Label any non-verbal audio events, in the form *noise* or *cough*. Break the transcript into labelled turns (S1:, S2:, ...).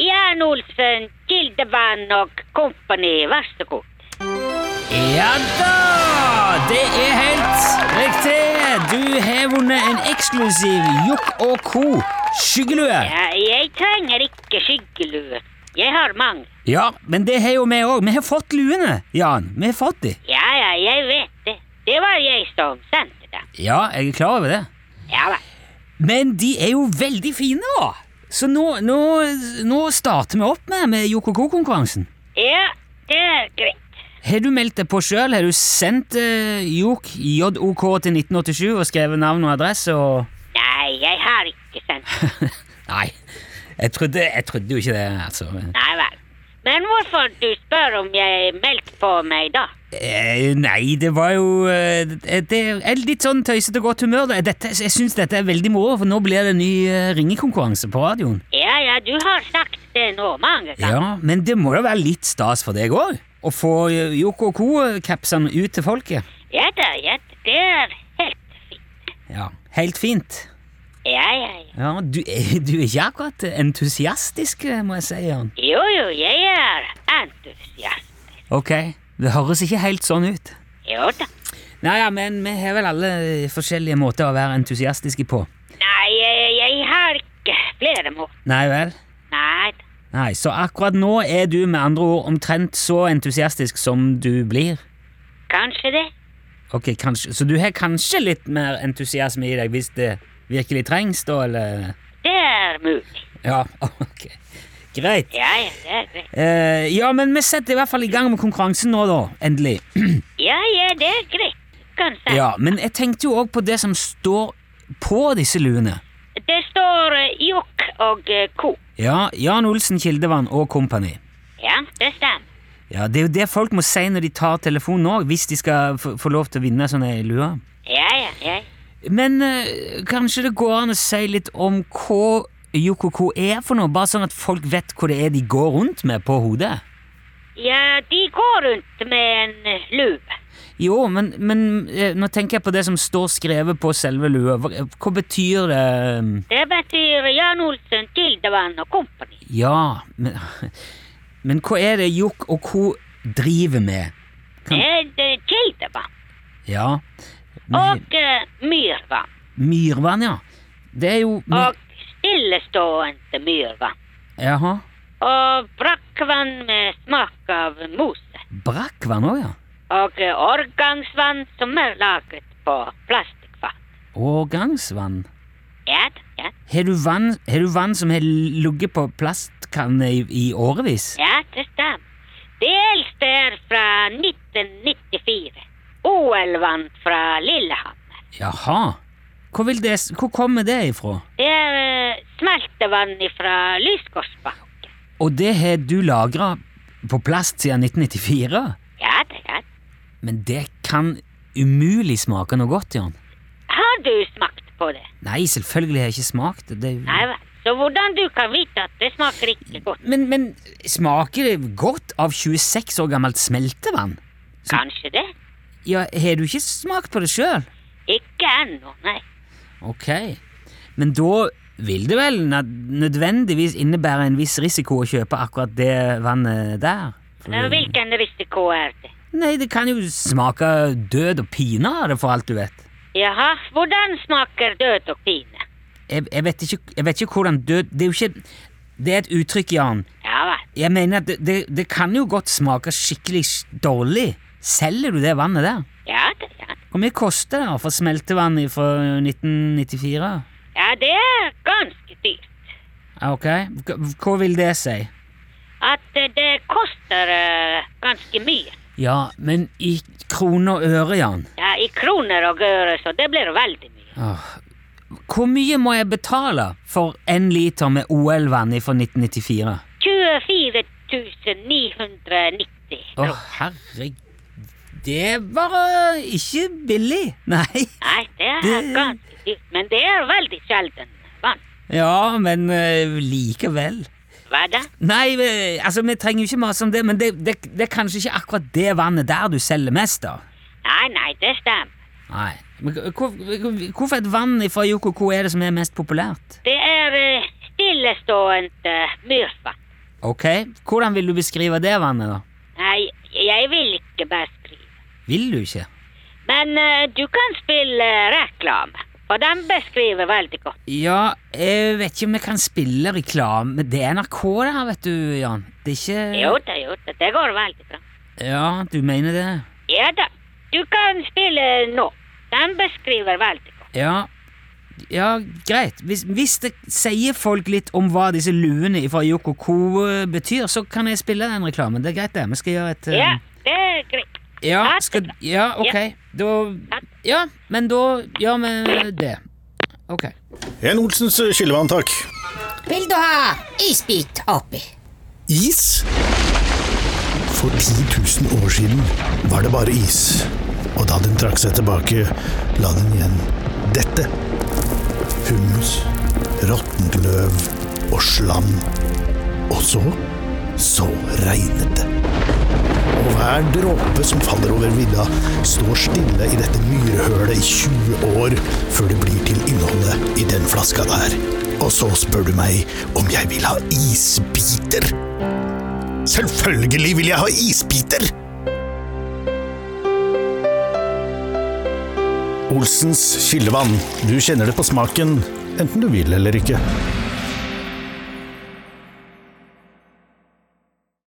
S1: Bjørn Olsen, Gildevann og kompani, vær så god.
S2: Ja da! Det er helt riktig! Du har vunnet en eksklusiv Jokk og Co. skyggelue.
S1: Ja, jeg trenger ikke skyggelue. Jeg har mange.
S2: Ja, men det har jo vi òg. Vi har fått luene, Jan. Vi har fått de.
S1: Ja, ja, jeg vet det. Det var jeg som sendte dem.
S2: Ja, jeg er klar over det.
S1: Ja vel.
S2: Men de er jo veldig fine, da! Så nå, nå, nå starter vi opp med, med Jokk og Co.-konkurransen.
S1: Ja, det er greit.
S2: Har du meldt deg på sjøl? Har du sendt eh, JOK JOK til 1987 og skrevet navn og adresse og
S1: Nei, jeg har ikke sendt dem.
S2: Nei, jeg trodde, jeg trodde jo ikke det, altså.
S1: Nei vel. Men hvorfor du spør om jeg meldte på meg da?
S2: Eh, nei, det var jo eh, Det er litt sånn tøysete godt humør. da. Dette, jeg syns dette er veldig moro, for nå blir det ny eh, ringekonkurranse på radioen.
S1: Ja, ja, du har sagt det nå mange ganger.
S2: Ja, Men det må da være litt stas for deg òg? Å få eh, Joko og Co-capsene ut til folket?
S1: Ja da, ja, det er helt fint.
S2: Ja, Helt fint.
S1: Ja, ja, ja.
S2: Ja, Du, er- *laughs* du er ikke akkurat entusiastisk, eh, må jeg si, Jan.
S1: Jo, jo, jeg er entusiast.
S2: Ok, det høres ikke helt sånn ut.
S1: Jo da.
S2: Nei, ja, men vi har vel alle eh, forskjellige måter å være entusiastiske på.
S1: Nei, jeg, jeg har ikke flere mål.
S2: Nei vel?
S1: Nei, da.
S2: Nei, så akkurat nå er du med andre ord omtrent så entusiastisk som du blir.
S1: kanskje det.
S2: Ok, kanskje, Så du har kanskje litt mer entusiasme i deg hvis det virkelig trengs, da, eller
S1: Det er mulig.
S2: Ja, *laughs* ok. Greit.
S1: Ja, ja, det er greit.
S2: Eh, ja, men vi setter i hvert fall i gang med konkurransen nå, da. Endelig.
S1: Ja, ja, det er greit. Kanskje.
S2: Ja, Men jeg tenkte jo òg på det som står på disse luene.
S1: Det står eh, jokk og eh, ko.
S2: Ja, Jan Olsen, Kildevann og kompani.
S1: Ja, det stemmer.
S2: Ja, Det er jo det folk må si når de tar telefonen òg, hvis de skal få få lov til å vinne sånne luer.
S1: Ja, ja, ja.
S2: Men eh, kanskje det går an å si litt om hva Yokoko er for noe, bare sånn at folk vet hva det er de går rundt med på hodet?
S1: Ja, de går rundt med en eh, lue.
S2: Jo, men, men eh, nå tenker jeg på det som står skrevet på selve lua. Hva, eh, hva betyr det
S1: Det betyr Jan Olsen, Kildevann og kompani.
S2: Ja, men, *laughs* men hva er det Yok og Co driver med? Kan,
S1: Eh, det er Kildevann
S2: ja my,
S1: og eh, myrvann.
S2: Myrvann, ja. Det er jo my,
S1: Og stillestående myrvann.
S2: Jaha.
S1: Og brakkvann med smak av mose.
S2: Brakkvann òg, ja.
S1: Og eh, årgangsvann som er laget på plastikkvann.
S2: Årgangsvann.
S1: Ja, da, ja,
S2: Har du vann, har du vann som har ligget på plastkanne i, i årevis?
S1: ja, det stemmer. Det eldste er fra 1994. OL-vann fra Lillehammer.
S2: Jaha. Hvor, vil det, s- hvor kommer det ifra?
S1: Det er eh, smeltevann fra Lyskorsbanken.
S2: Og det har du lagra på plast siden 1994?
S1: Ja, da, ja. da.
S2: Men det kan umulig smake noe godt, Jan.
S1: Har du smakt på det?
S2: Nei, selvfølgelig har jeg ikke smakt det. det. er jo-
S1: Nei vel. Så hvordan du kan vite at det smaker ikke godt?
S2: Men, men smaker det godt av 26 år gammelt smeltevann?
S1: Kanskje det?
S2: Ja, Har du ikke smakt på det sjøl?
S1: Ikke ennå, nei.
S2: Ok. Men da vil det vel na- nødvendigvis innebære en viss risiko å kjøpe akkurat det vannet der? For-
S1: Men Hvilken risiko er det?
S2: Nei, det kan jo smake død og pine av det, for alt du vet.
S1: Jaha, hvordan smaker død og pine?
S2: Jeg, jeg, vet ikke, jeg vet ikke hvordan død Det er jo ikke Det er et uttrykk, Jan.
S1: Ja vel.
S2: Jeg mener at det, det, det kan jo godt smake skikkelig s- dårlig. Selger du det vannet der?
S1: Ja, det, ja.
S2: Hvor mye koster det for smeltevann fra 1994?
S1: ja, det er ganske dyrt.
S2: Ja, Ok, Hva- hva vil det si?
S1: At eh, det koster eh, ganske mye.
S2: Ja, men i kroner og øre, Jan.
S1: Ja, I kroner og øre, så det blir veldig mye.
S2: Åh. Ah. Hvor mye må jeg betale for en liter med OL-vann fra 1994?
S1: 24 990
S2: Å,
S1: kroner.
S2: herregud. Det var eh, ikke billig. *laughs* Nei.
S1: Nei, det er
S2: det-
S1: ganske dyrt. Men det er veldig sjelden vann.
S2: Ja, men eh, likevel.
S1: Hva da?
S2: Nei, eh, altså, vi trenger jo ikke mase om det, men det, det, det er kanskje ikke akkurat det vannet der du selger mest av.
S1: Nei, nei, det stemmer.
S2: Nei. Men hvor, hvorfor et vann fra Yoko Ko er det som er mest populært?
S1: eh, Det er eh, stillestående myrvann.
S2: Ok, hvordan vil du beskrive det vannet, da?
S1: Nei, jeg vil ikke beskrive.
S2: Vil du ikke?
S1: Men eh, du kan spille eh, reklame, for den beskriver veldig godt.
S2: Ja, jeg vet ikke om jeg kan spille reklame. Det er NRK, det her, vet du, Jan. Det er ikke
S1: Jo da, jo da, det går veldig bra.
S2: Ja, du mener det?
S1: Ja da, du kan spille nå. Den beskriver veldig godt.
S2: Ja. Ja, greit. Hvis, hvis det sier folk litt om hva disse luene fra Yoko Ko eh, betyr, så kan jeg spille den reklamen. Det er greit, det. Vi skal gjøre et eh,
S1: Ja, det er greit.
S2: ja,
S1: Ha det
S2: skal,
S1: bra.
S2: ja, ok. Da Ja, men da gjør vi det. Ok.
S3: En Olsens skyllevann, takk.
S4: Vil du ha isbit oppi?
S5: Is? For 10 000 år siden var det bare is. Og da den trakk seg tilbake, la den igjen dette. Humus, råttent løv og slam. Og så så regnet det. Og hver dråpe som faller over vidda, står stille i dette myrhølet i 20 år før det blir til innholdet i den flaska der. Og så spør du meg om jeg vil ha isbiter. Selvfølgelig vil jeg ha isbiter!
S3: Olsens skyllevann. Du kjenner det på smaken, enten du vil eller ikke.